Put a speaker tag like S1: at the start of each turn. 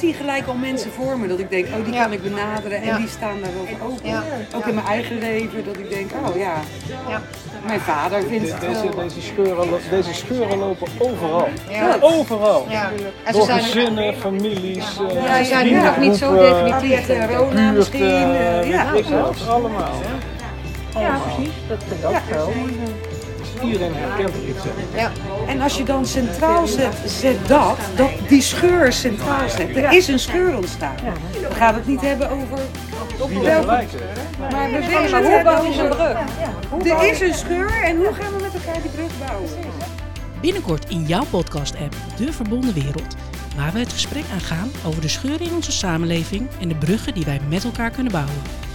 S1: zie gelijk al mensen voor me. Dat ik denk, oh die
S2: Ja.
S1: kan ik benaderen. En
S2: Ja.
S1: die staan daarover open.
S2: Ja.
S1: Ook in mijn eigen leven. Dat ik denk, oh ja,
S2: Ja.
S1: mijn vader vindt
S3: De-
S1: het
S3: Deze,
S1: wel.
S3: deze, scheuren, lo- deze scheuren lopen overal.
S2: Ja.
S3: Overal.
S2: Ja. En ze
S3: Door
S2: zijn er-
S3: gezinnen, families. eh,
S1: Ja, ze zijn nu nog
S2: niet zo
S3: groepen,
S2: definitief.
S1: Atlet en Rona
S3: buurten,
S1: misschien. eh,
S3: weet
S1: ja.
S3: ik wat, allemaal.
S1: ja, precies.
S3: Dat vind ik ook wel. Iedereen herkent er iets aan.
S2: Ja.
S1: En als je dan centraal zet, zet dat, dat die scheur centraal zet. Er is een scheur ontstaan. We gaan het niet hebben over
S3: Wie er
S1: welke-
S3: gelijk heeft.
S1: Maar we willen het hebben over brug. Er is een scheur en hoe gaan we met elkaar die brug bouwen?
S4: Binnenkort in jouw podcast-app De Verbonden Wereld, waar we het gesprek aangaan over de scheuren in onze samenleving en de bruggen die wij met elkaar kunnen bouwen.